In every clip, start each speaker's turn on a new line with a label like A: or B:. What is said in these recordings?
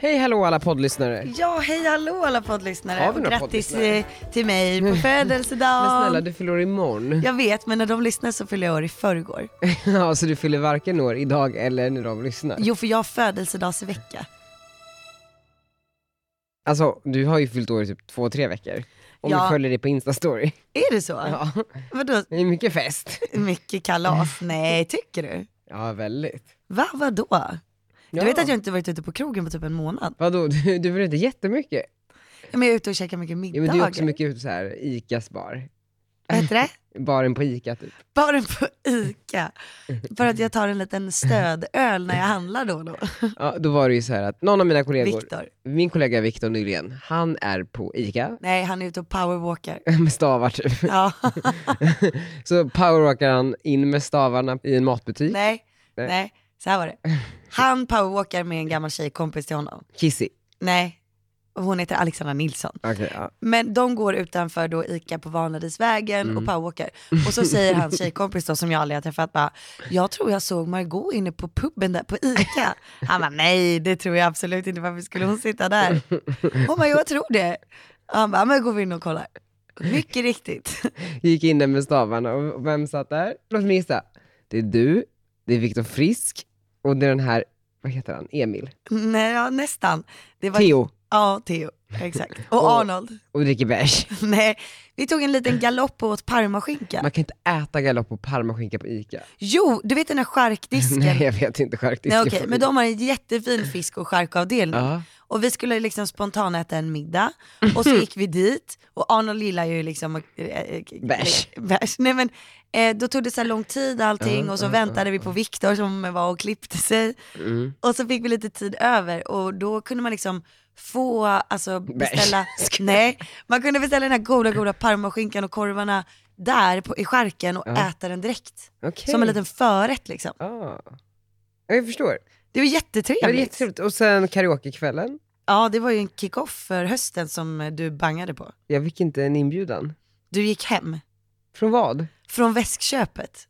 A: Hej hallå alla poddlyssnare.
B: Ja, hej hallå alla poddlyssnare.
A: Har vi
B: Och
A: några
B: grattis
A: poddlyssnare? Mm.
B: eh, till mig på
A: Men snälla
B: födelsedagen.
A: du fyller år imorgon.
B: Jag vet, men när de lyssnar så fyller jag år i förrgår.
A: Ja, så du fyller varken år idag eller när de lyssnar.
B: Jo, för jag har födelsedagsvecka.
A: Alltså du har ju fyllt år i typ två, tre veckor. Om
B: Ja.
A: du följer det på instastory.
B: Är det så?
A: Ja,
B: Vadå,
A: det är mycket fest.
B: mycket kalas? Nej, tycker du?
A: Ja, väldigt.
B: Va, vadå?
A: Ja.
B: Du vet att jag inte varit ute på krogen på typ en månad?
A: Vadå, du, du fyller inte jättemycket?
B: Ja, Men jag är ute och käkar mycket
A: Ja,
B: middagar.
A: men du är också mycket ute så här, Icas bar.
B: Vad heter det?
A: Baren på Ica typ.
B: Bara på ICA. För att jag tar en liten stödöl när jag handlar då och då.
A: Ja, då var det ju så här att någon av mina kollegor,
B: Viktor.
A: min kollega Viktor Nylén, han är på Ica
B: Nej, han är ute och powerwalkar.
A: med stavar typ.
B: Ja.
A: Så powerwalkar han in med stavarna i en matbutik.
B: Nej,
A: Nej.
B: nej, så här var det. Han powerwalkar med en gammal tjejkompis till honom.
A: Kissy.
B: Nej, och hon heter Alexandra Nilsson.
A: Okej, ja.
B: Men de går utanför då ICA på Vanadisvägen
A: Mm.
B: och powerwalkar. Och så säger hans tjejkompis då, som jag aldrig har träffat, bara, jag tror jag såg Margot inne på puben där på ICA. Han bara, nej det tror jag absolut inte, varför skulle hon sitta där? Hon bara, jag tror det. Och han bara, men går vi in och kollar. Mycket riktigt.
A: Gick in där med stavarna och vem satt där? Låt mig gissa. Det är du, det är Viktor Frisk och det är den här, vad heter han, Emil?
B: Nej, ja, nästan. Det var,
A: Theo
B: Ja, Theo. Exakt. Och
A: Och-
B: Arnold.
A: och dricker bärs.
B: Nej, vi tog en liten galopp och åt parmaskinka.
A: Man kan inte äta galopp och parmaskinka på Ica.
B: Jo, du vet den här charkdisken?
A: Nej
B: Nej,
A: jag vet inte skärkdisken.
B: Nej okej, men de har en jättefin fisk och charkavdelning.
A: Ja.
B: Och vi skulle liksom spontant äta en middag och så gick vi dit och Arnold gillar ju liksom att- eh, eh,
A: Bärs.
B: bärs. Nej men eh, då tog det så här lång tid allting
A: Ja,
B: och så
A: ja,
B: väntade vi på Viktor som var och klippte sig
A: Mm.
B: och så fick vi lite tid över och då kunde man liksom få, alltså beställa, nej, man kunde beställa den här goda goda parmaskinkan och korvarna där på, i skärken och
A: Ja.
B: äta den direkt.
A: Okej.
B: Som en liten förrätt liksom.
A: Ja. Ja, jag förstår.
B: Det var
A: Det var
B: jättetrevligt.
A: jättetrevligt. Och sen karaokekvällen.
B: Ja, det var ju en kick-off för hösten som eh, du bangade på.
A: Jag fick inte en inbjudan.
B: Du gick hem
A: Från vad?
B: från väskköpet.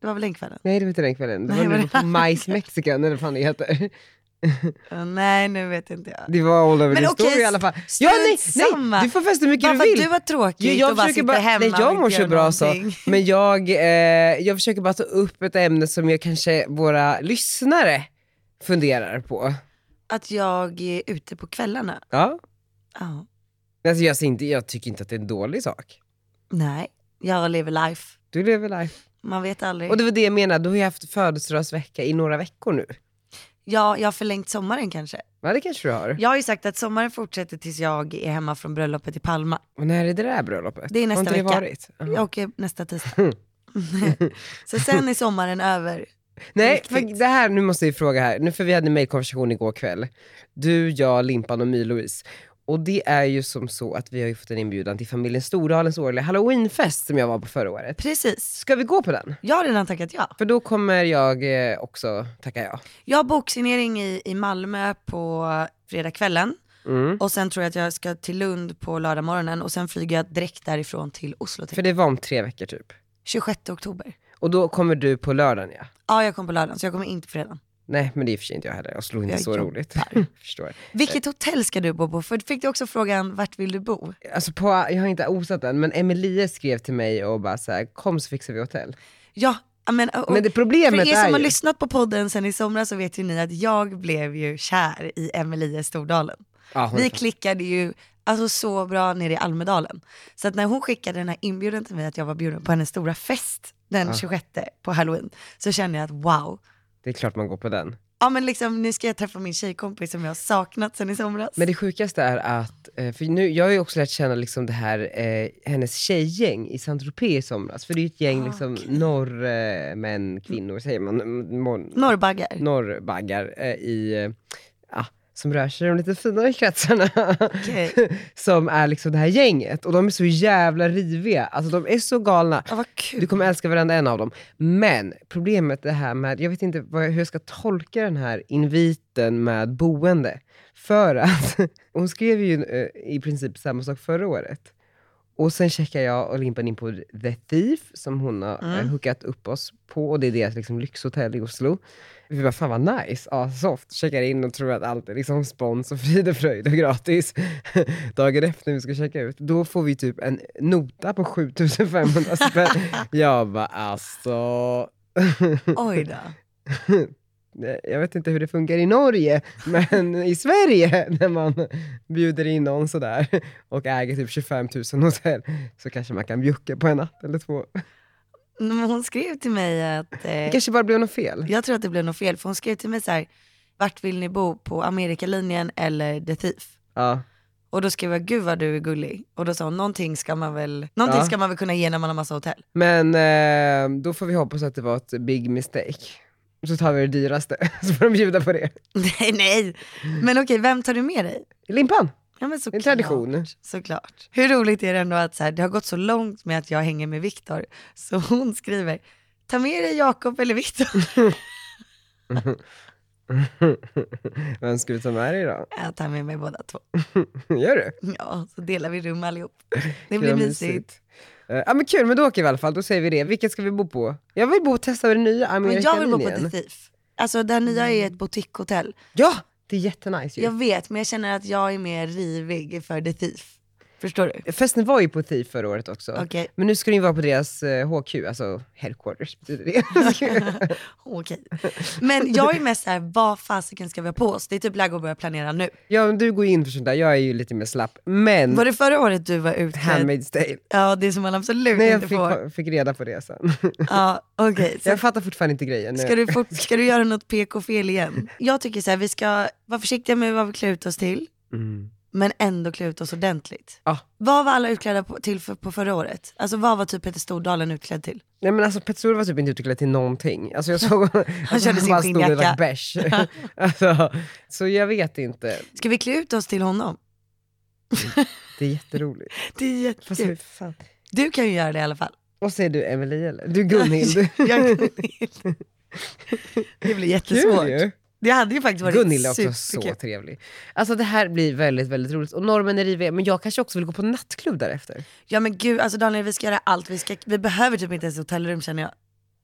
B: Det var väl den kvällen?
A: Nej det var inte den kvällen. Det var
B: Nej,
A: när
B: var
A: vi var på Majs Mexican eller vad fan det heter.
B: Ja, Eh, nej, nu vet inte jag.
A: Det var all over
B: Men
A: the story
B: okej,
A: i alla fall.
B: strunt
A: Ja nej,
B: samma.
A: nej! Du får festa hur mycket
B: Bara
A: du
B: för att
A: vill.
B: du var tråkig
A: jag
B: och bara
A: försöker
B: sitter
A: bara-
B: hemma
A: nej, jag
B: och inte
A: mår så
B: gör
A: bra så.
B: någonting.
A: Men jag, eh, jag försöker bara ta upp ett ämne som jag kanske våra lyssnare funderar på.
B: Att jag är ute på kvällarna.
A: Ja.
B: Ja.
A: Alltså jag, ser inte, jag tycker inte att det är en dålig sak.
B: Nej, jag lever life.
A: Du lever life.
B: Man vet aldrig.
A: Och det var det jag menade, du har ju haft födelsedagsvecka i några veckor nu.
B: Ja, jag har förlängt sommaren kanske.
A: Ja det kanske du har.
B: Jag har ju sagt att sommaren fortsätter tills jag är hemma från bröllopet i Palma.
A: Och när är det där bröllopet?
B: Det är nästa
A: har inte det
B: vecka.
A: varit? Ja.
B: Jag åker nästa tisdag. så sen är sommaren över.
A: Nej,
B: Riktigt.
A: för det här, nu måste vi fråga här, nu för vi hade en mejlkonversation igår kväll. Du, jag, Limpan och My-Louise. Och det är ju som så att vi har ju fått en inbjudan till familjen Stordalens årliga halloweenfest som jag var på förra året.
B: Precis.
A: Ska vi gå på den?
B: Jag har redan tackat ja.
A: För då kommer jag eh, också tacka ja.
B: Jag har boksignering i, i Malmö på fredagskvällen.
A: Mm.
B: Och sen tror jag att jag ska till Lund på lördag morgonen och sen flyger jag direkt därifrån till Oslo.
A: För
B: Till
A: det var om tre veckor typ.
B: 26 oktober.
A: Och då kommer du på lördagen ja.
B: Ja, jag kommer på lördagen så jag kommer inte på fredagen.
A: Nej, men det är i och för sig inte jag heller. Jag slog inte
B: Jag
A: så
B: jobbar.
A: roligt. Förstår.
B: Vilket hotell ska du bo på? För fick du också frågan vart vill du bo?
A: Alltså på, jag har inte osat den, men Emelie skrev till mig och bara så här, kom så fixar vi hotell.
B: Ja, men, och,
A: Men det problemet
B: för er
A: är
B: som har
A: ju-
B: lyssnat på podden sen i somras så vet ju ni att jag blev ju kär i Emelie Stordalen.
A: Ja, hon är
B: Vi klickade ju alltså, så bra nere i Almedalen. Så att när hon skickade den här inbjudan till mig att jag var bjuden på hennes stora fest den 26 på halloween så kände jag att wow.
A: Det är klart man går på den.
B: Ja men liksom nu ska jag träffa min tjejkompis som jag har saknat sen i somras.
A: Men det sjukaste är att, eh, för nu, jag har ju också lärt känna liksom det här, eh, hennes tjejgäng i Saint-Tropez i somras. För det är ju ett gäng
B: Ah,
A: liksom norrmän, kvinnor, säger man, Mm, m- mor-
B: Norrbaggar.
A: norrbaggar eh, i, eh, ah, som rör sig i de lite finare kretsarna.
B: Okej.
A: som är liksom det här gänget. Och de är så jävla riviga, alltså de är så galna.
B: Ja vad kul.
A: Du kommer älska varenda en av dem. Men problemet är det här med, jag vet inte vad jag, hur jag ska tolka den här inviten med boende. För att hon skrev ju eh, i princip samma sak förra året. Och sen checkar jag och Limpan in på The Thief, som hon har
B: Mm.
A: mm. hookat upp oss på. Och det är deras liksom, lyxhotell i Oslo. Vi bara, fan vad nice, ja, soft. Checkar in och tror att allt är liksom spons och frid och fröjd och gratis. Dagen efter när vi ska checka ut, då får vi typ en nota på 7500 spänn. jag bara, alltså...
B: Oj då.
A: Nej, jag vet inte hur det funkar i Norge, men i Sverige när man bjuder in någon sådär och äger typ 25 000 hotell så kanske man kan bjucka på en natt eller två.
B: Men Hon skrev till mig att...
A: Det
B: Eh,
A: kanske bara blev något fel.
B: jag tror att det blev något fel, för hon skrev till mig så här, vart vill ni bo? På Amerikalinjen eller The Thief?
A: Ja.
B: Och då skrev jag, gud vad du är gullig. Och då sa hon, någonting ska man väl, någonting
A: Ja.
B: ska man väl kunna ge när man har massa hotell.
A: Men eh, då får vi hoppas att det var ett big mistake. Så tar vi det dyraste, så får de bjuda på det.
B: nej, nej. Men okej, vem tar du med dig?
A: Limpan!
B: Ja, men såklart,
A: tradition.
B: Såklart. Hur roligt är det ändå att så här, det har gått så långt med att jag hänger med Viktor, så hon skriver, ta med dig Jakob eller Viktor.
A: Vem ska vi ta med dig då?
B: Jag tar med mig båda två.
A: Gör du?
B: Ja, så delar vi rum allihop. Det
A: Gud,
B: blir
A: vad
B: mysigt.
A: Eh, ja men kul, men då åker vi i alla fall. Då säger vi det. Vilket ska vi bo på? Jag vill bo och testa det nya
B: Men jag vill bo på
A: Amerikalinjen.
B: The Thief. Alltså det nya är ett boutiquehotell.
A: Ja! Det är jättenice ju.
B: Jag vet, men jag känner att jag är mer rivig för The Thief. Förstår du?
A: Festen var ju på TIF förra året också.
B: Okej.
A: Men nu ska den ju vara på deras eh, HQ, alltså headquarters betyder det.
B: Okej. Men jag är mest såhär, vad fasiken ska vi ha på oss? Det är typ läge att börja planera nu.
A: ja, men du går ju in för sånt där, jag är ju lite mer slapp. Men,
B: Var det förra året du var utklädd?
A: handmaid's tale.
B: Ja, det som man absolut
A: Nej, jag
B: inte får.
A: fick, fick reda på det sen.
B: Ja, okej. Så
A: jag fattar fortfarande inte grejen.
B: Ska du, fort, ska du göra något PK-fel igen? Jag tycker så här, vi ska vara försiktiga med vad vi klär ut oss till,
A: Mm.
B: men ändå klä ut oss ordentligt.
A: Ja.
B: Vad var alla utklädda på, till för, på förra året? Alltså vad var typ Peter Stordalen utklädd till?
A: Nej men alltså Petzol var typ inte utklädd till någonting. Alltså jag såg han
B: körde sin
A: bara stod och
B: skinnjacka.
A: drack bärs. alltså, så jag vet inte.
B: Ska vi klä ut oss till honom?
A: Det är jätteroligt.
B: Det är
A: Fast hur
B: jättekul.
A: fan.
B: Du kan ju göra det i alla fall.
A: Vad säger du Emily eller? Du Gunhild.
B: Jag kan inte. det blir jättesvårt.
A: Kul ju.
B: Det hade ju faktiskt varit
A: Gunhild är också så
B: superkul.
A: trevlig. Alltså det här blir väldigt, väldigt roligt. Och normen är riviga, men jag kanske också vill gå på nattklubb därefter.
B: Ja men gud, alltså Daniel vi ska göra allt. Vi, ska, vi behöver typ inte ens hotellrum känner jag.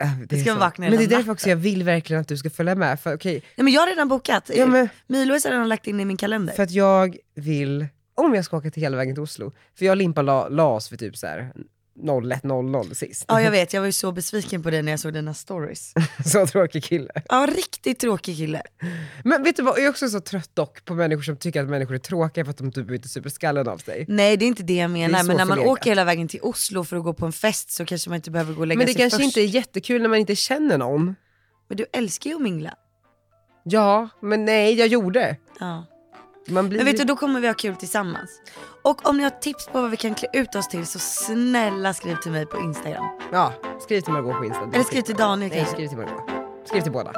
A: Äh, Det är
B: ska
A: så.
B: vakna
A: Men det är
B: hela
A: därför
B: natten.
A: också jag vill verkligen att du ska följa med. För, okej,
B: Nej men jag har redan bokat.
A: ja, men,
B: Milos har redan lagt in i min kalender.
A: för att jag vill, om jag ska åka till hela vägen till Oslo, för jag och Limpa la, la oss för typ så här 01.00 sist.
B: Ja jag vet, jag var ju så besviken på dig när jag såg dina stories.
A: så tråkig kille.
B: Ja riktigt tråkig kille.
A: Men vet du vad, jag är också så trött dock på människor som tycker att människor är tråkiga för att de typ inte super skallen av sig.
B: Nej det är inte det jag menar,
A: så
B: men när man
A: förlegat.
B: åker hela vägen till Oslo för att gå på en fest så kanske man inte behöver gå och lägga
A: Men det
B: sig
A: kanske
B: först.
A: inte är jättekul när man inte känner någon.
B: Men du älskar ju att mingla.
A: Ja, men nej, jag gjorde.
B: Ja.
A: Man blir
B: Men vet du, då kommer vi ha kul tillsammans. Och om ni har tips på vad vi kan klä ut oss till så snälla skriv till mig på Instagram.
A: Ja, skriv till Margot på Insta.
B: Eller skriv till Daniel
A: Nej,
B: kanske.
A: skriv till Margot. Skriv till båda.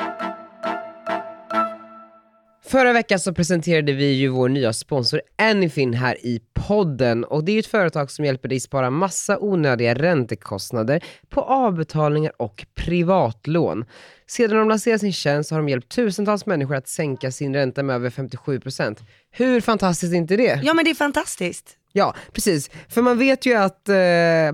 A: Förra veckan så presenterade vi ju vår nya sponsor Anyfin här i podden och det är ju ett företag som hjälper dig spara massa onödiga räntekostnader på avbetalningar och privatlån. Sedan de lanserade sin tjänst har de hjälpt tusentals människor att sänka sin ränta med över 57%. Hur fantastiskt är inte det?
B: Ja men det är fantastiskt.
A: Ja, precis. För man vet ju att eh,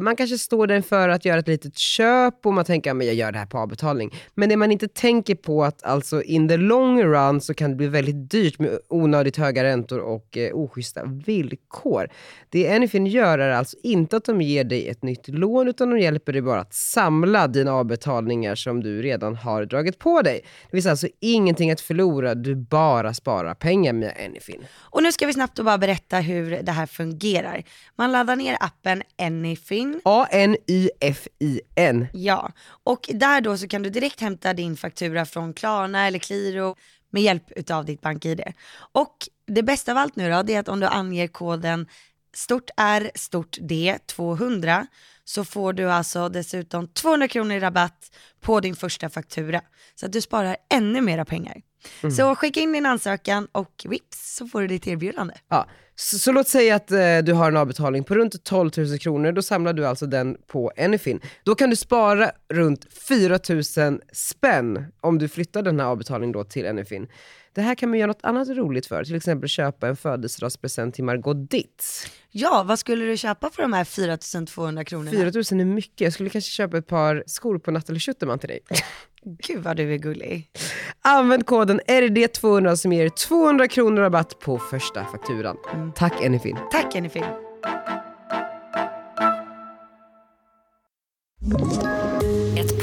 A: man kanske står där för att göra ett litet köp och man tänker att jag gör det här på avbetalning. Men det man inte tänker på att alltså in the long run så kan det bli väldigt dyrt med onödigt höga räntor och eh, oschyssta villkor. Det Anyfin gör är alltså inte att de ger dig ett nytt lån utan de hjälper dig bara att samla dina avbetalningar som du redan har dragit på dig. Det finns alltså ingenting att förlora, du bara sparar pengar med Anyfin.
B: Och nu ska vi snabbt och bara berätta hur det här fungerar. Man laddar ner appen Anyfin.
A: A-N-Y-F-I-N.
B: Ja, och där då så kan du direkt hämta din faktura från Klarna eller Qliro med hjälp utav ditt BankID. Och det bästa av allt nu då, det är att om du anger koden stort R stort D 200 så får du alltså dessutom 200 kronor i rabatt på din första faktura. Så att du sparar ännu mera pengar. Så skicka in din ansökan och vips så får du ditt erbjudande.
A: Ja. Så, så låt säga att eh, du har en avbetalning på runt 12 000 kronor, då samlar du alltså den på Anyfin. Då kan du spara runt 4 000 spänn om du flyttar den här avbetalningen då till Anyfin. Det här kan man göra något annat roligt för, till exempel köpa en födelsedagspresent till Margot Dietz.
B: Ja, vad skulle du köpa för de här 4200 kronorna?
A: 4 000 är mycket, jag skulle kanske köpa ett par skor på Nathalie Schuterman till dig.
B: Gud vad du är gullig.
A: Använd koden RD200 som ger 200 kronor rabatt på första fakturan. Tack Anyfin.
B: Tack Jennifer.
C: Ett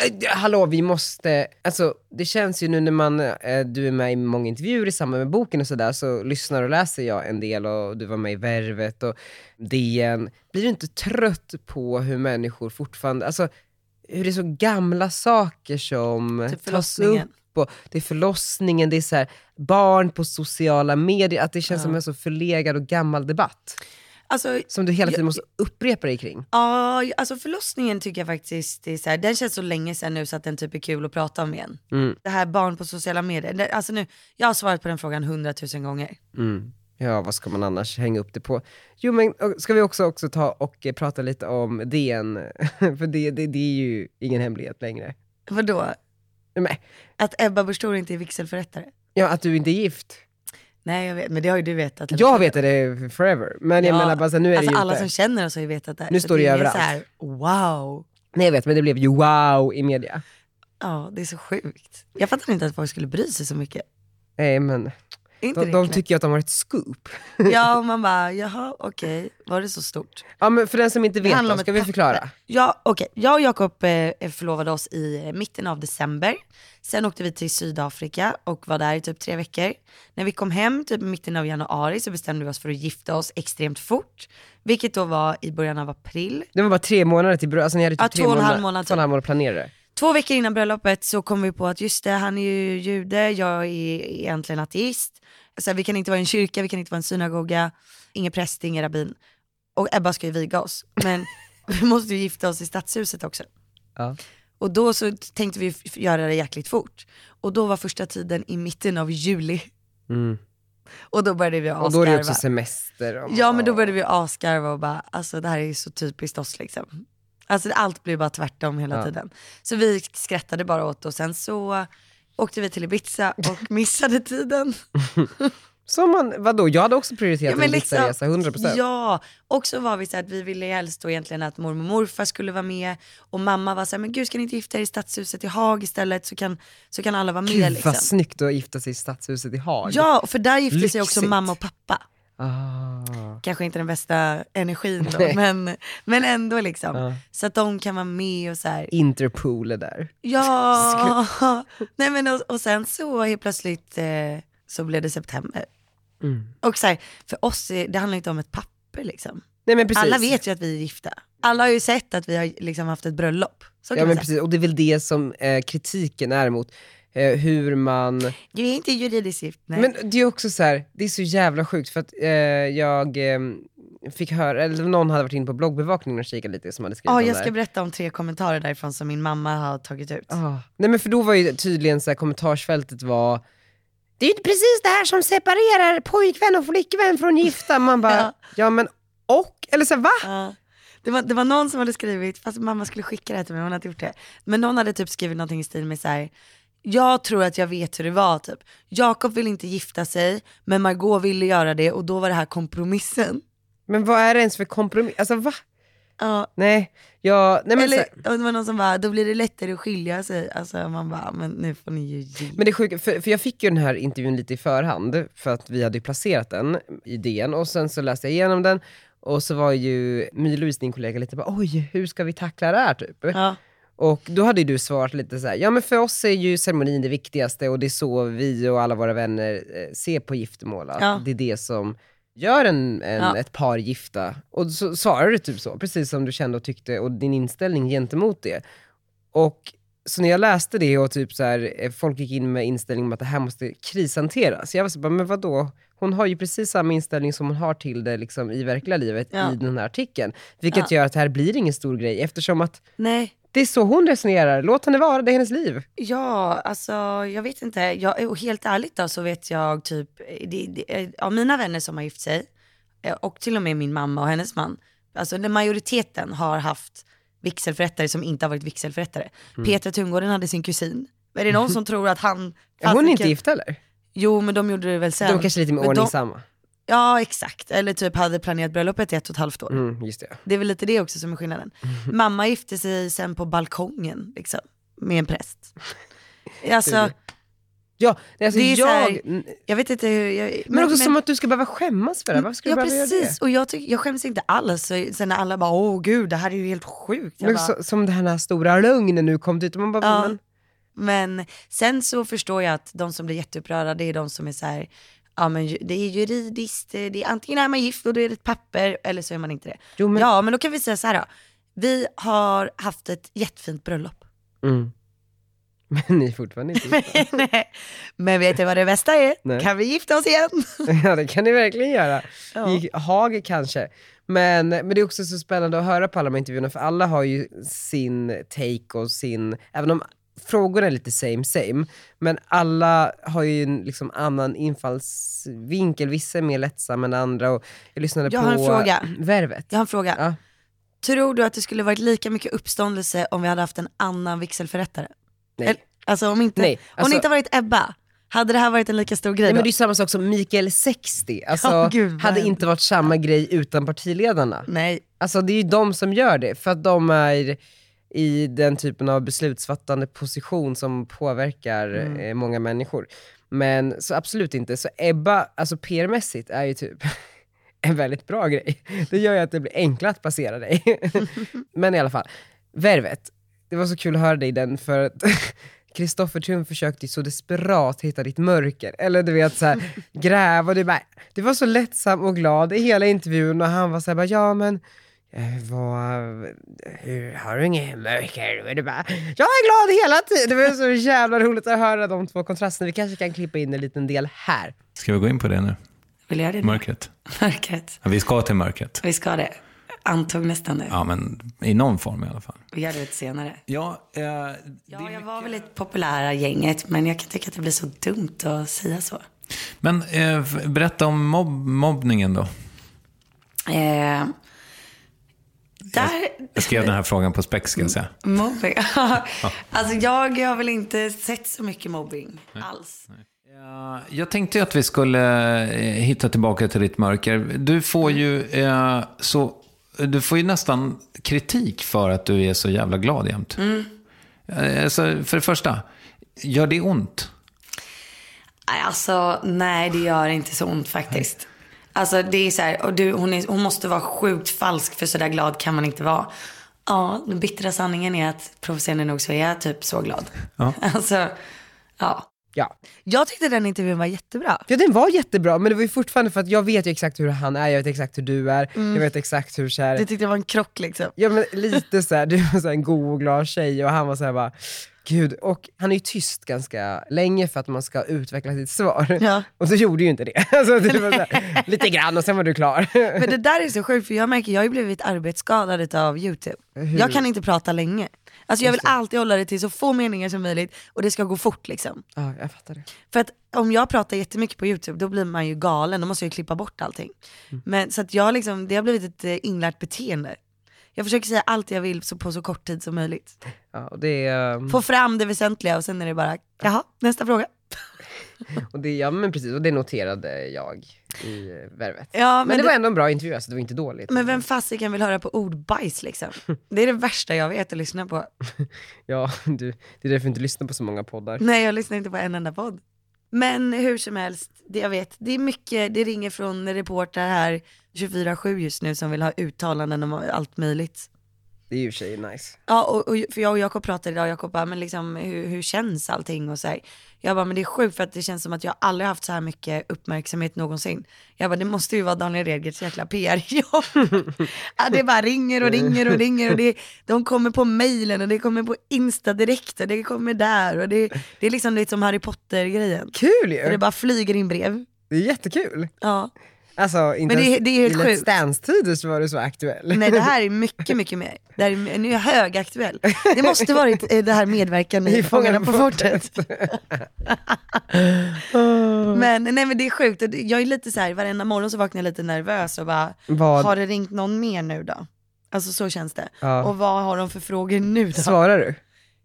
A: Eh, Hallå, vi måste... Alltså, det känns ju nu när man, eh, du är med i många intervjuer i samband med boken och sådär, så lyssnar och läser jag en del och du var med i Värvet och DN. Blir du inte trött på hur människor fortfarande... Alltså, hur det är så gamla saker som
B: Typ
A: tas
B: förlossningen.
A: upp. Och det är förlossningen, det är så här, barn på sociala medier, att det känns som en så förlegad och gammal debatt.
B: Alltså,
A: Som du hela tiden
B: Jag-
A: måste upprepa dig kring.
B: ja, alltså förlossningen tycker jag faktiskt, det är så här, den känns så länge sedan nu så att den typ är kul att prata om igen.
A: Mm.
B: Det här barn på sociala medier, det, alltså nu, jag har svarat på den frågan hundratusen gånger.
A: Mm. Ja, vad ska man annars hänga upp det på? Jo, men och, ska vi också, också ta och eh, prata lite om DN? För det, det, det är ju ingen hemlighet längre.
B: Vadå?
A: Nej, men,
B: Att Ebba Busch Thor inte är vigselförrättare?
A: ja, att du inte är gift.
B: Nej jag vet, men det har ju du vetat. eller?
A: Jag vet det forever, men jag
B: Ja,
A: menar bara så här, nu är
B: alltså
A: det ju
B: alla
A: inte.
B: som känner oss har ju vetat det här.
A: Nu
B: Så
A: står det ju
B: ingen
A: överallt.
B: Så här, wow.
A: Nej, jag vet, men det blev ju wow i media.
B: Ja, det är så sjukt. Jag fattar inte att folk skulle bry sig så mycket.
A: Nej, men
B: Är Inte
A: de,
B: det
A: de
B: knäppt?
A: tycker ju att de har ett scoop.
B: Ja, och man bara, jaha, okej, var det så stort?
A: Ja, men för den som inte
B: Det
A: vet,
B: handlar
A: då,
B: om
A: ska
B: ett
A: vi
B: papper.
A: förklara?
B: Ja, okej. Jag och Jakob eh, förlovade oss i eh, mitten av december. Sen åkte vi till Sydafrika och var där i typ tre veckor. När vi kom hem typ i mitten av januari så bestämde vi oss för att gifta oss extremt fort. Vilket då var i början av april.
A: Det var bara tre månader till bröllopet, alltså ni hade typ
B: Ja,
A: tre
B: två och en halv
A: månader,
B: månad
A: två och en halv månad att planera det.
B: Två veckor innan bröllopet så kom vi på att just det, han är ju jude, jag är egentligen ateist. Så här, vi kan inte vara i en kyrka, vi kan inte vara i en synagoga, ingen präst, ingen rabbin. Och Ebba ska ju viga oss, men vi måste ju gifta oss i stadshuset också.
A: Ja.
B: Och då så tänkte vi f- göra det jäkligt fort. Och då var första tiden i mitten av juli.
A: Mm.
B: Och då började vi
A: Och då är det också
B: asgarva.
A: semester. och-
B: Ja men då började vi asgarva och bara, alltså det här är ju så typiskt oss liksom. Alltså allt blev bara tvärtom hela
A: Ja.
B: tiden. Så vi skrattade bara åt det och sen så åkte vi till Ibiza och missade tiden.
A: Som man, vadå, jag hade också prioriterat
B: Ja, liksom-
A: en pizzaresa, 100%.
B: Ja, och så var vi så här att vi ville helst då egentligen att mormor och morfar skulle vara med och mamma var så här, men gud ska ni inte gifta er i stadshuset i Haag istället så kan, så kan alla vara med
A: Gud
B: liksom.
A: vad snyggt att gifta sig i stadshuset i Haag.
B: Ja, för där gifte sig också
A: Lyxigt.
B: mamma och pappa.
A: Ah.
B: kanske inte den bästa energin då,
A: Nej.
B: men, men ändå liksom.
A: Ja.
B: Så att de kan vara med och så här,
A: Interpol är där.
B: ja, nej men och, och sen så helt plötsligt eh, så blev det september. Och så här, för oss, är- det handlar inte om ett papper liksom.
A: Nej men precis.
B: Alla vet ju att vi är gifta. Alla har ju sett att vi har liksom haft ett bröllop. Så kan
A: Ja
B: man
A: men
B: säga.
A: precis, och det är väl det som eh, kritiken är mot. Eh, hur man...
B: Du är inte juridiskt gift, nej.
A: Men det är också så här, det är så jävla sjukt för att eh, jag eh, fick höra, eller någon hade varit inne på bloggbevakningen och kikat lite som hade skrivit
B: Ja,
A: om
B: jag
A: det
B: ska
A: här.
B: berätta om tre kommentarer därifrån som min mamma har tagit ut.
A: Ah. Nej men för då var ju tydligen så här, kommentarsfältet var Det är ju precis det här som separerar pojkvän och flickvän från gifta. Man bara, ja.
B: Ja.
A: men och? Eller så här, va?
B: Ja. Det var, det var någon som hade skrivit, fast mamma skulle skicka det här till mig, hon hade inte gjort det. Men någon hade typ skrivit någonting i stil med så här. jag tror att jag vet hur det var typ. Jakob ville inte gifta sig, men Margot ville göra det och då var det här kompromissen.
A: Men vad är det ens för kompromiss? Alltså va?
B: Ja,
A: Nej, jag, nej men, så,
B: eller, och det var någon som bara, då blir det lättare att skilja sig. Alltså man bara, men nu får ni ju ge.
A: men det är sjukt, för, för jag fick ju den här intervjun lite i förhand, för att vi hade ju placerat den i DN, och sen så läste jag igenom den, och så var ju My-Louise, din kollega, lite bara oj, hur ska vi tackla det här typ?
B: ja.
A: Och då hade ju du svarat lite så här, ja men för oss är ju ceremonin det viktigaste och det är så vi och alla våra vänner eh, ser på giftermål, att
B: Ja.
A: det är det som gör en, en,
B: Ja.
A: ett par gifta. Och så svarade du typ så, precis som du kände och tyckte och din inställning gentemot det. Och så när jag läste det och typ så här, eh, folk gick in med inställningen att det här måste krishanteras. Jag var så bara, men vadå? Hon har ju precis samma inställning som hon har till det liksom, i verkliga livet
B: Ja.
A: i den här artikeln. Vilket gör att det här blir ingen stor grej eftersom att
B: Nej,
A: det är så hon resonerar. Låt henne vara, det är hennes liv.
B: Ja, alltså jag vet inte. Jag, eh, och helt ärligt då så vet jag typ, det, det, av mina vänner som har gift sig, eh, och till och med min mamma och hennes man, alltså den majoriteten har haft vigselförrättare som inte har varit vigselförrättare.
A: Mm.
B: Petra Tungården hade sin kusin. Är det någon som tror att han...
A: Är hon
B: fasiken-
A: inte gift heller?
B: Jo, men de gjorde det väl sen.
A: De kanske är lite mer
B: Men de-
A: ordningsamma.
B: Ja, exakt. Eller typ hade planerat bröllopet i ett och ett halvt år.
A: Mm, just det.
B: Det är väl lite det också som är skillnaden. Mamma gifte sig sen på balkongen, liksom, med en präst. Alltså,
A: Ja, nej, alltså
B: Det är så
A: jag...
B: här-
A: men,
B: jag vet inte hur... Jag,
A: också som att du ska behöva skämmas för det. Varför ska
B: Mm, ja,
A: du behöva
B: precis.
A: göra det?
B: Och jag, tycker jag skäms inte alls. Så Sen när alla bara, åh gud, det här är ju helt sjukt. Jag
A: Men
B: bara,
A: så, som den här stora lögnen nu kom dit. Och man bara,
B: Ja.
A: men,
B: Men sen så förstår jag att de som blir jätteupprörda, det är de som är så här, ja men ju- det är juridiskt, det är antingen är man gift och då är det ett papper, eller så är man inte det.
A: Jo, men-
B: Ja, men då kan vi säga så här då. Vi har haft ett jättefint bröllop.
A: mm. men ni är fortfarande inte gifta.
B: Nej. men vet du vad det bästa är?
A: Nej.
B: Kan vi gifta oss igen?
A: Ja det kan ni verkligen göra.
B: Ja.
A: I Haag kanske. Men, men det är också så spännande att höra på alla de här intervjuerna, för alla har ju sin take och sin, även om frågorna är lite same same, men alla har ju en liksom annan infallsvinkel. Vissa är mer lättsamma än andra och jag lyssnade
B: Jag
A: på
B: har en fråga.
A: Värvet.
B: Jag har en fråga.
A: Ja.
B: Tror du att det skulle varit lika mycket uppståndelse om vi hade haft en annan vigselförrättare?
A: Nej.
B: Eller- Alltså om inte,
A: Nej,
B: om
A: alltså-
B: det inte varit Ebba, hade det här varit en lika stor grej
A: Nej, men
B: då?
A: det är ju samma sak som Mikael 60. Alltså,
B: Ja, gud, vad
A: hade
B: hemskt.
A: inte varit samma grej utan partiledarna.
B: Nej.
A: Alltså det är ju de som gör det, för att de är i den typen av beslutsfattande position som påverkar eh, många människor. Men så absolut inte. Så Ebba, alltså PR-mässigt, är ju typ en väldigt bra grej. Det gör ju att det blir enklare att passera dig. Men i alla fall, Värvet. Det var så kul att höra dig i den för att Kristoffer Thun försökte ju så desperat hitta ditt mörker. Eller du vet såhär, gräva. Du, bara, du var så lättsam och glad i hela intervjun och han var såhär, bara, ja men eh, vad, hur, har du inget mörker? Och du bara, jag är glad hela tiden. Det var så jävla roligt att höra de två kontrasterna. Vi kanske kan klippa in en liten del här.
D: Ska vi gå in på det nu?
E: Vill jag göra det nu?
D: Mörkret?
E: Mörkret.
D: Ja, vi ska till mörkret.
E: Vi ska det. Antog nästan det.
D: Ja, men i någon form i alla fall.
E: Vi gör det lite senare.
D: Ja, eh,
E: Ja, jag var väl ett populära gänget, men jag kan tycka att det blir så dumt att säga så.
D: men eh, f- berätta om mobb- mobbningen då.
E: Eh, där...
D: Jag skrev den här frågan på spex, ska jag säga.
E: Mobbing. alltså jag har väl inte sett så mycket mobbing alls.
D: Ja, Mm. Jag tänkte ju att vi skulle eh, hitta tillbaka till ditt mörker. Du får ju, eh, så, du får ju nästan kritik för att du är så jävla glad jämt. Eh, Alltså, för det första, gör det ont?
E: Nej, alltså nej det gör inte så ont faktiskt. Alltså det är så här, och du, hon, är, hon måste vara sjukt falsk för sådär glad kan man inte vara. Ja, den bittra sanningen är att provocerande nog så är jag typ så glad.
D: Ja.
E: Alltså, ja.
A: Ja.
B: Jag tyckte den intervjun var jättebra.
A: Ja den var jättebra, men det var ju fortfarande för att jag vet ju exakt hur han är, jag vet exakt hur du är, jag vet exakt hur såhär,
B: Mm. Du tyckte det var en krock liksom.
A: ja men lite såhär, du var såhär en god och glad tjej och han var såhär bara, gud, och han är ju tyst ganska länge för att man ska utveckla sitt svar.
B: Ja.
A: Och så gjorde ju inte det. Alltså, det var såhär, lite grann och sen var du klar.
B: Men det där är så sjukt för jag märker, jag har ju blivit arbetsskadad utav YouTube. Jag kan inte prata länge. Alltså jag vill alltid hålla det till så få meningar som möjligt och det ska gå fort liksom.
A: ja, jag fattar det.
B: För att om jag pratar jättemycket på YouTube då blir man ju galen, då måste jag ju klippa bort allting. Men, så att jag liksom, det har blivit ett eh, inlärt beteende. Jag försöker säga allt jag vill så på så kort tid som möjligt.
A: Ja, och det är, ehm,
B: Få fram det väsentliga och sen är det bara, jaha, nästa fråga.
A: och det, ja men precis, och det noterade jag i eh, Värvet.
B: Ja,
A: men,
B: men
A: det
B: det-
A: var ändå en bra intervju, alltså det var inte dåligt.
B: Men vem fasiken vill höra på ordbajs liksom? Det är det värsta jag vet att lyssna på.
A: Ja, du, det är därför jag inte lyssnar på så många poddar.
B: Nej, jag lyssnar inte på en enda podd. Men hur som helst, det jag vet, det är mycket, det ringer från reportrar här 24-7 just nu som vill ha uttalanden om allt möjligt.
A: Det är ju i och för sig nice.
B: Ja, och, och, för jag och Jakob pratade idag, Jakob bara, men liksom hur, hur känns allting och så här. Jag bara, men det är sjukt för att det känns som att jag aldrig haft så här mycket uppmärksamhet någonsin. Jag bara, det måste ju vara Daniel Redgerts jäkla PR-jobb. ja, det bara ringer och ringer och ringer och det, de kommer på mailen och det kommer på Insta direkt och det kommer där och det, det är liksom lite som Harry Potter-grejen.
A: Kul
B: Och det
A: ju!
B: bara flyger in brev.
A: Det är jättekul.
B: Ja.
A: Alltså inte
B: Men det-
A: ens
B: det är helt
A: i Let's
B: sjukt.
A: Dance-tider så var du så aktuell.
B: Nej det här är mycket, mycket mer. Det här är, nu är jag högaktuell. Det måste varit eh, det här medverkan i Fångarna på fortet.
A: Mm.
B: Men, nej, men det är sjukt, Och det- jag är lite så här, varenda morgon så vaknar jag lite nervös och bara,
A: Vad-
B: har det ringt någon mer nu då? Alltså så känns det.
A: Ja.
B: Och vad har de för frågor nu då?
A: Svarar du?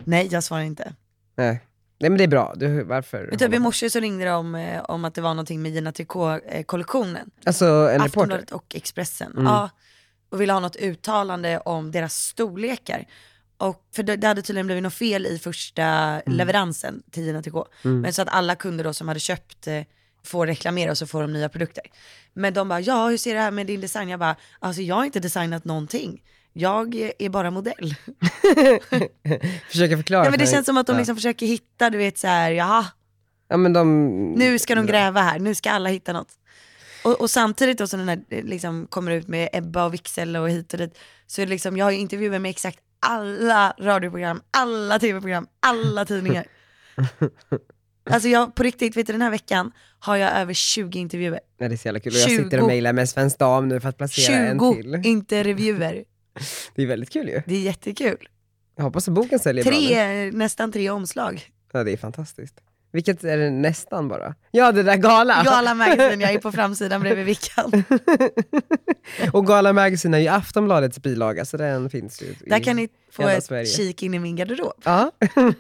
B: Nej jag svarar inte.
A: Nej. Nej men det är bra, du, varför?
B: Men typ i morse så ringde de om, eh, om att det var någonting med Gina eh, Tricot-kollektionen.
A: Alltså en reporter? Mm.
B: Aftonbladet och Expressen. Ja, och ville ha något uttalande om deras storlekar. Och, för det, det hade tydligen blivit något fel i första
A: Mm.
B: leveransen till Gina Tricot. Men så att alla kunder då som hade köpt eh, får reklamera och så får de nya produkter. Men de bara, ja hur ser det här med din design? Jag bara, alltså jag har inte designat någonting. Jag eh, är bara modell.
A: Försöka förklara.
B: Ja, men
A: för
B: det
A: mig.
B: känns som att de
A: Ja.
B: liksom försöker hitta, du vet så här, jaha,
A: Ja men de...
B: nu ska de gräva här, nu ska alla hitta något. Och, och samtidigt då som den här eh, liksom, kommer ut med Ebba och Wiksel och hit och dit, så är det liksom, jag har ju intervjuer med exakt alla radioprogram, alla tv-program, alla tidningar. Alltså jag, på riktigt, vet du den här veckan har jag över 20 intervjuer.
A: Nej, det är så jävla kul. Och jag sitter
B: 20.
A: och mejlar med Svensk Dam nu för att placera en
B: 20
A: till.
B: intervjuer.
A: Det är väldigt kul ju.
B: Det är jättekul.
A: Jag hoppas att boken säljer bra nu.
B: Tre, nästan tre omslag.
A: Ja, det är fantastiskt. Vilket är det nästan bara? Ja, det där Gala!
B: Gala Magazine, jag är på framsidan bredvid Vickan.
A: Och Gala Magazine är ju Aftonbladets bilaga, så den finns ju. i-
B: Där kan ni få
A: Hela
B: ett
A: Sverige.
B: kik in i min garderob.
A: Ja.
B: Utan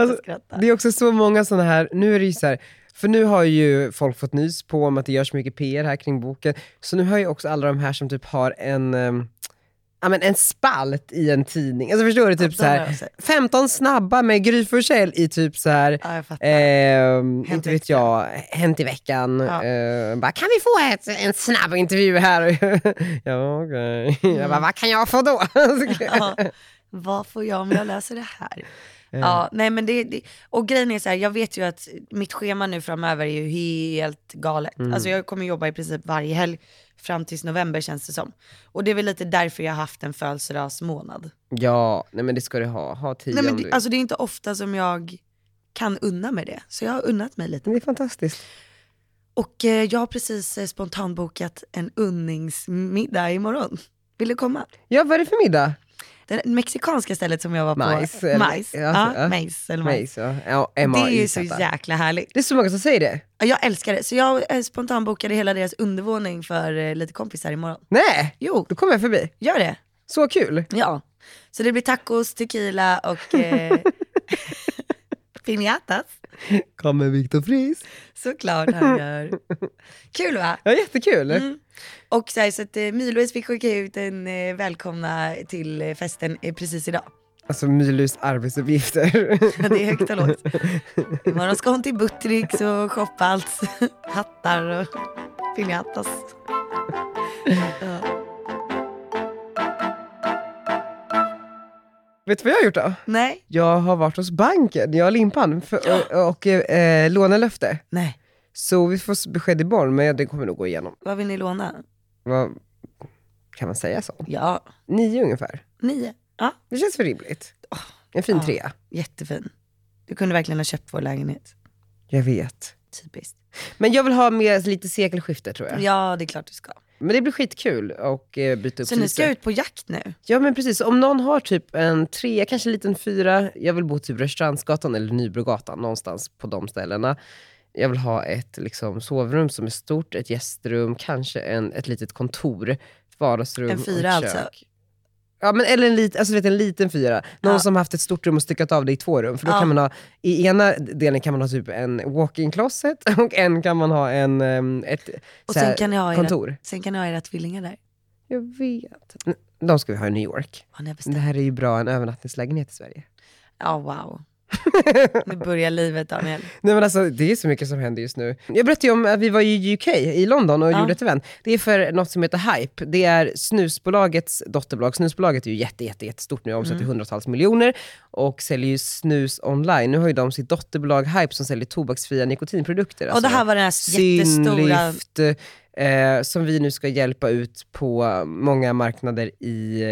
A: Alltså,
B: skratta.
A: Det är också så många sådana här, nu är det ju så här, för nu har ju folk fått nys på om att det görs mycket PR här kring boken, så nu har ju också alla de här som typ har en, ehm, ja men en spalt i en tidning. Alltså förstår du? Typ
B: de
A: så
B: har jag
A: här,
B: sett.
A: 15 snabba med Gry Forssell i typ så här,
B: Ja, jag fattar.
A: ehm,
B: eh, Hänt
A: inte
B: i
A: vet
B: veckan.
A: jag, Hänt i veckan.
B: Ja.
A: Eh, bara, kan vi få ett, en snabb intervju här? ja, okej. Jag
B: Mm.
A: bara, vad kan jag få då?
B: ja, vad får jag om jag läser det här?
A: Eh.
B: Ja, nej men det, det, och grejen är så här, jag vet ju att mitt schema nu framöver är ju helt galet.
A: Mm.
B: Alltså jag kommer jobba i princip varje helg fram tills november känns det som. Och det är väl lite därför jag har haft en födelsedagsmånad.
A: ja, nej men det ska du ha. Ha tio
B: Nej men
A: om du
B: det,
A: vill.
B: alltså det är inte ofta som jag kan unna mig det. Så jag har unnat mig lite.
A: Men Det är fantastiskt.
B: Och eh, jag har precis eh, spontanbokat en unningsmiddag imorgon. Vill du komma?
A: Ja, vad är det för middag?
B: Det mexikanska stället som jag var på.
A: Majs, eller-
B: Majs.
A: ja, alltså,
B: Ja,
A: ja.
B: majs eller majs.
A: Majs, ja. ja
B: Det
A: MAIZ.
B: är ju så jäkla härligt.
A: Det är så många som säger det.
B: Ja, Jag älskar det. Så jag eh, spontanbokade hela deras undervåning för eh, lite kompisar imorgon.
A: Nej,
B: Jo,
A: då kommer jag förbi.
B: gör det.
A: Så kul.
B: Ja. Så det blir tacos, tequila och eh, piñatas.
A: Kommer Viktor Friis.
B: Såklart han gör. Kul va?
A: Ja, jättekul.
B: Mm. Och så, här, så att eh, Milois fick skicka ut en eh, välkomna till eh, festen eh, precis idag.
A: Alltså Milus arbetsuppgifter.
B: Det är högt och lågt. Imorgon ska hon till Buttricks och shoppa allt. Hattar och piñatas.
A: Vet du vad jag har gjort då?
B: Nej.
A: Jag har varit hos banken, jag och Limpan, för, och, och eh, lånelöfte.
B: Nej.
A: Så vi får besked imorgon, men det kommer nog gå igenom.
B: Vad vill ni låna?
A: Vad, kan man säga så?
B: Ja,
A: Nio ungefär.
B: nio. Ja,
A: Det känns för rimligt.
B: Ah,
A: En fin trea.
B: jättefin. Du kunde verkligen ha köpt vår lägenhet.
A: Jag vet.
B: Typiskt.
A: Men jag vill ha med lite sekelskifte tror jag.
B: Ja, det är klart du ska. Men
A: Men det blir skitkul och eh, byta upp
B: så ni
A: lite.
B: ska ut på jakt nu?
A: Ja men precis, om någon har typ en trea, kanske en liten fyra, jag vill bo typ Rörstrandsgatan eller Nybrogatan, någonstans på de ställena. Jag vill ha ett liksom, sovrum som är stort, ett gästrum, kanske en, ett litet kontor, ett vardagsrum
B: En fyra
A: och ett
B: alltså?
A: kök. Ja, men, eller en, lit, alltså, du vet, en liten fyra. Någon
B: Ja.
A: som haft ett stort rum och styckat av det i två rum. För då
B: Ja.
A: kan man ha, i ena delen kan man ha typ en walk-in closet och en kan man ha en, ehm, ett
B: Och
A: så här,
B: sen kan, ni ha era,
A: kontor.
B: sen kan ni ha era tvillingar där?
A: Jag vet. De ska vi ha i New York.
B: Har ni bestämt?
A: Det här är ju bra, en övernattningslägenhet i Sverige.
B: Ja, wow. Nu börjar livet Daniel.
A: Nej men alltså det är så mycket som händer just nu. Jag berättade ju om att vi var i UK, i London och gjorde ett event. Det är för något som heter Hype. Det är snusbolagets dotterbolag. Snusbolaget är ju jätte, jätte, jättestort nu,
B: Mm.
A: omsätter hundratals miljoner och säljer ju snus online. Nu har ju de sitt dotterbolag Hype som säljer tobaksfria nikotinprodukter. Alltså,
B: Och det här var den här jättestora...
A: Synlyft, eh, som vi nu ska hjälpa ut på många marknader i eh,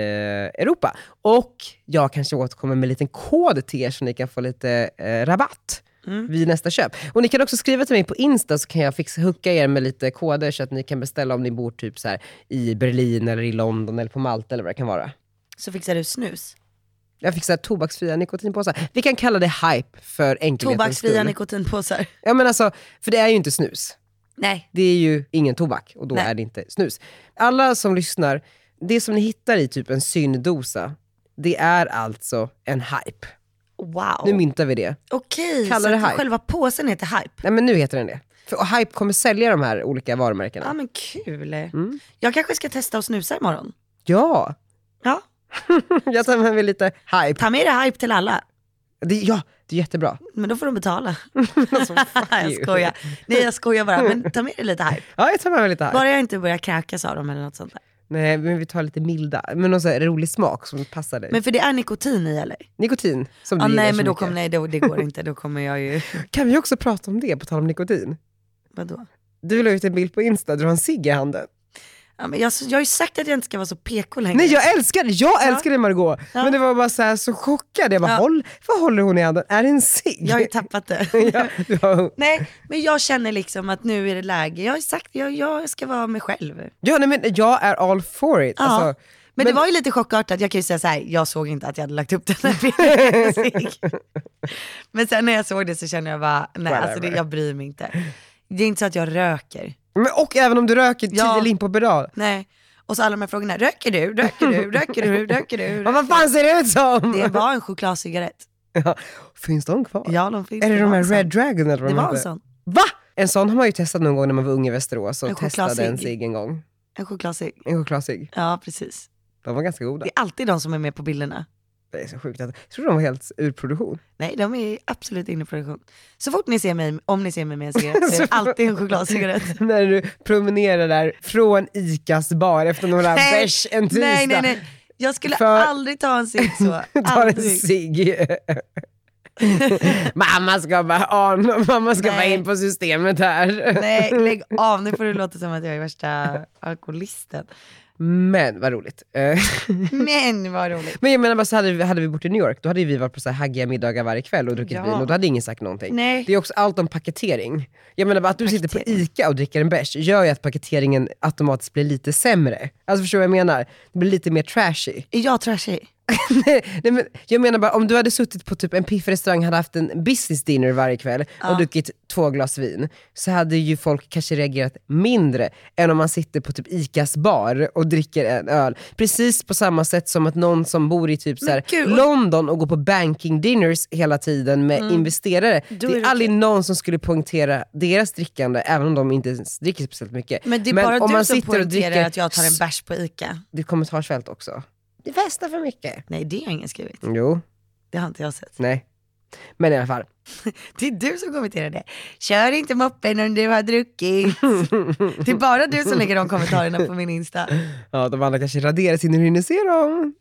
A: Europa. Och jag kanske återkommer med en liten kod till er så ni kan få lite eh, rabatt
B: Mm.
A: vid nästa köp. Och ni kan också skriva till mig på Insta så kan jag fixa, hooka er med lite koder så att ni kan beställa om ni bor typ så här i Berlin eller i London eller på Malta eller vad det kan vara.
B: Så fixar du snus.
A: Jag fixar tobaksfria nikotinpåsar. Vi kan kalla det hype för enkelhetens
B: Tobaksfria
A: skull.
B: nikotinpåsar.
A: Ja men alltså, för det är ju inte snus.
B: Nej.
A: det är ju ingen tobak och då
B: Nej.
A: är det inte snus. Alla som lyssnar, det som ni hittar i typ en syndosa, det är alltså en hype.
B: Wow.
A: Nu myntar vi det.
B: Okej,
A: Kallar
B: så
A: det
B: att
A: hype.
B: själva påsen heter hype.
A: Nej men nu heter den det. För och hype kommer sälja de här olika varumärkena.
B: Ja men kul.
A: Mm.
B: Jag kanske ska testa att snusa imorgon.
A: Ja!
B: Ja.
A: Jag tar med mig lite hype.
B: Ta med dig hype till alla.
A: Det, ja, det är jättebra.
B: Men då får de betala.
A: Alltså, fuck
B: jag
A: you.
B: skojar. Nej jag skojar bara. Men ta med dig lite hype.
A: Ja, jag tar med mig lite hype.
B: Bara jag inte börjar kräkas av dem eller något sånt där.
A: Nej, men vi tar lite milda. Men någon så här rolig smak som passar dig.
B: Men för det är nikotin i eller?
A: Nikotin, som du
B: Ah,
A: gillar
B: nej
A: så
B: men då
A: mycket.
B: kommer, nej då, det går inte, då kommer jag ju,
A: Kan vi också prata om det, på tal om nikotin?
B: vadå?
A: Du la ut en bild på Insta där du har en cigg i handen.
B: Ja, men jag, jag har ju sagt att jag inte ska vara så PK längre.
A: Nej jag älskar det, jag älskar det Margot
B: Ja.
A: Men det var bara så här så chockad, jag bara
B: Ja.
A: håll, vad håller hon i handen? Är det en cigg?
B: jag har ju tappat det.
A: ja, du har-
B: Nej, men jag känner liksom att nu är det läge. Jag har ju sagt, jag, jag ska vara mig själv.
A: ja nej, men jag är all for it.
B: Ja.
A: Alltså,
B: men,
A: men-
B: det var ju lite chockartat, jag kan ju säga så här, jag såg inte att jag hade lagt upp den här bilden. men sen när jag såg det så kände jag bara, nej alltså det,
A: Whatever.
B: jag bryr mig inte. Det är inte så att jag röker.
A: men, och även om du röker tio
B: Ja.
A: limpor per dag.
B: Nej. Och så alla de här frågorna, röker du, röker du, röker du, röker du?
A: Men vad fan ser det ut som?
B: Det var en chokladcigarett.
A: Ja. Finns de kvar?
B: Ja, de finns.
A: Är det,
B: Det
A: de
B: var
A: här
B: en sån.
A: Red Dragon eller vad
B: Det
A: de
B: var en
A: hette?
B: sån.
A: Va? En sån har man ju testat någon gång när man var ung i Västerås och
B: En
A: testade en
B: chokladcigg.
A: cigg en gång.
B: En chokladcigg.
A: En chokladcigg.
B: Ja, precis.
A: De var ganska goda.
B: Det är alltid de som är med på bilderna.
A: Det är så sjukt. att- Jag tror de var helt ur produktion.
B: Nej, de är absolut inne i produktion. Så fort ni ser mig, om ni ser mig med en cigarett, så är det
A: Så-
B: alltid en chokladcigarett.
A: när du promenerar där från ICAs bar efter några
B: Nej,
A: bärs en tisdag.
B: nej, nej, nej. Jag skulle
A: För-
B: aldrig ta en cigg så.
A: Tar en
B: Aldrig.
A: cigg. mamma ska bara on, mamma ska
B: Nej.
A: bara in på systemet här.
B: Nej, lägg av. Nu får det låta som att jag är värsta alkoholisten.
A: Men vad roligt. Eh,
B: Men vad roligt.
A: Men jag menar bara så hade, vi- hade vi bott i New York, då hade ju vi varit på så här haggiga middagar varje kväll och druckit
B: Ja.
A: vin och då hade ingen sagt någonting.
B: Nej.
A: Det är också allt om paketering. Jag menar bara att du sitter på ICA och dricker en bärs gör ju att paketeringen automatiskt blir lite sämre. Alltså förstår du vad jag menar? Det blir lite mer trashy.
B: Är jag trashig?
A: Nej, nej, men jag menar bara om du hade suttit på typ en piffig restaurang, hade haft en business dinner varje kväll och druckit två glas vin, så hade ju folk kanske reagerat mindre än om man sitter på typ ICAs bar och dricker en öl. Precis på samma sätt som att någon som bor i typ så här,
B: gud.
A: London och går på banking dinners hela tiden med investerare,
B: Då
A: det
B: är
A: är
B: det
A: aldrig någon som skulle poängtera deras drickande, även om de inte ens dricker speciellt mycket.
B: Men det är bara du som poängterar att jag tar en bärs på ICA.
A: Det är kommentarsfält också. Du festar för mycket.
B: Nej, det har ingen skrivit.
A: Jo.
B: Det har inte jag sett.
A: Nej. Men i alla fall.
B: Det är du som kommenterar det. Kör inte moppen om du har druckit. Det är bara du som lägger de kommentarerna på min Insta.
A: Ja, de andra kanske raderas innan du hinner se dem.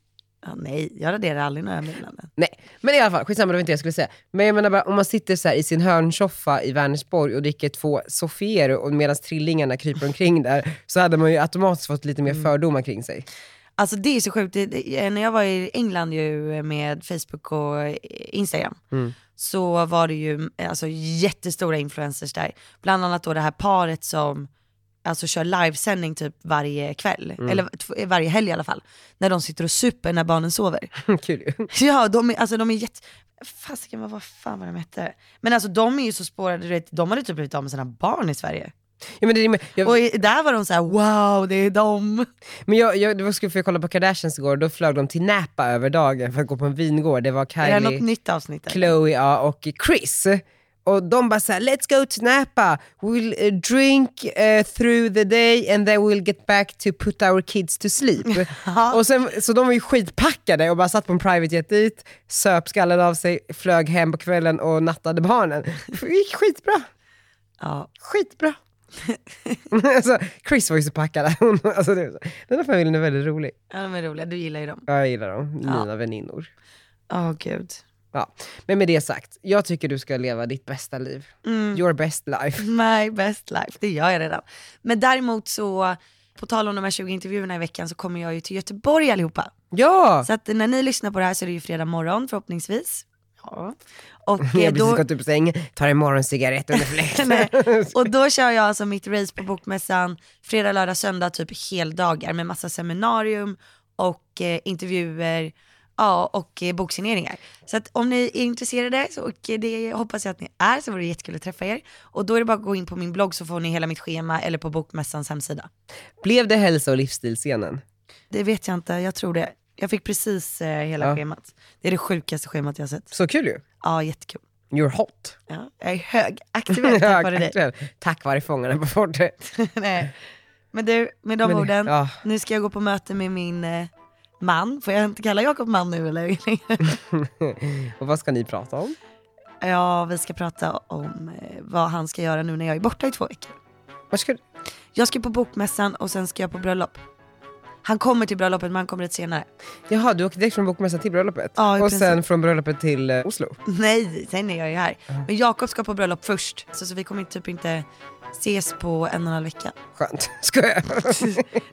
B: Ja, nej, jag raderar aldrig några meddelanden.
A: Nej, men i alla fall, skitsamma, det var inte det jag skulle säga. Men jag menar bara, om man sitter så här i sin hörnsoffa i Vänersborg och dricker två Sofiero och medan trillingarna kryper omkring där, så hade man ju automatiskt fått lite mer fördomar kring sig.
B: Alltså det är så sjukt, Det- det- när jag var i England ju med Facebook och eh, Instagram så var det ju eh, alltså, jättestora influencers där. Bland annat då det här paret som alltså, kör livesändning typ varje kväll, eller tv- varje helg i alla fall. När de sitter och super när barnen sover.
A: Kul ju.
B: Ja, de är, alltså de är jätte... Fasiken, vad, vad fan var de hette? Men alltså de är ju så spårade, du vet, de hade typ blivit av med sina barn i Sverige.
A: Ja, men det, är- men jag,
B: Och i- där var de så här: wow, det är de.
A: men jag, jag, det var skulle jag kolla på Kardashians igår, då flög de till Napa över dagen för att gå på en vingård. Det var
B: Är det här något
A: Kylie,
B: nytt avsnitt? eller?
A: Chloe ja, och Chris. och de bara såhär, let's go to Napa, we'll eh, drink eh, through the day and then we'll get back to put our kids to sleep. och sen, så de var ju skitpackade och bara satt på en private jet dit, söp skallen av sig, flög hem på kvällen och nattade barnen. Det gick skitbra.
B: Ja.
A: Skitbra. alltså, Chris var ju så packad. Hon- alltså, det, var så- den här familjen är väldigt rolig.
B: ja, de är roliga. Du gillar ju dem.
A: Ja, Jag gillar dem, mina väninnor.
B: Åh gud.
A: Ja. Men med det sagt, jag tycker du ska leva ditt bästa liv.
B: Mm.
A: Your best life.
B: My best life, det gör jag redan. Men däremot så, på tal om de här 20 intervjuerna i veckan så kommer jag ju till Göteborg allihopa.
A: Ja!
B: Så att när ni lyssnar på det här så är det ju fredag morgon förhoppningsvis. Ja. Och, eh,
A: Jag precis
B: då,
A: gått upp ur typ säng, tar en morgoncigarett under
B: Nej.
A: fläkten.
B: och då kör jag alltså mitt race på Bokmässan fredag, lördag, söndag typ heldagar med massa seminarium och eh, intervjuer ja, och eh, boksigneringar. Så att om ni är intresserade, så, och eh, det hoppas jag att ni är, så vore det jättekul att träffa er. Och då är det bara att gå in på min blogg så får ni hela mitt schema eller på Bokmässans hemsida.
A: Blev det hälsa och livsstilsscenen?
B: Det vet jag inte, jag tror det. Jag fick precis eh, hela
A: Ja.
B: schemat. Det är det sjukaste schemat jag har sett.
A: Så kul ju.
B: Ja, jättekul.
A: You're hot.
B: Ja, jag är högaktiverad tack vare dig.
A: Verkligen. Tack vare Fångarna på fortet.
B: Nej. Men du, med de
A: Men det-
B: orden,
A: ja.
B: nu ska jag gå på möte med min eh, man. Får jag inte kalla Jakob man nu eller?
A: Och vad ska ni prata om?
B: ja, vi ska prata om eh, vad han ska göra nu när jag är borta i två veckor.
A: Vad ska du...
B: Jag ska på bokmässan och sen ska jag på bröllop. Han kommer till bröllopet men han kommer lite senare.
A: Jaha, du åkte direkt från bokmässan till bröllopet?
B: Ja, i
A: och
B: princip.
A: sen från bröllopet till eh, Oslo?
B: Nej, sen är jag ju här. Men Jakob ska på bröllop först, så, så vi kommer typ inte ses på en och en halv vecka.
A: Skönt. Skojar.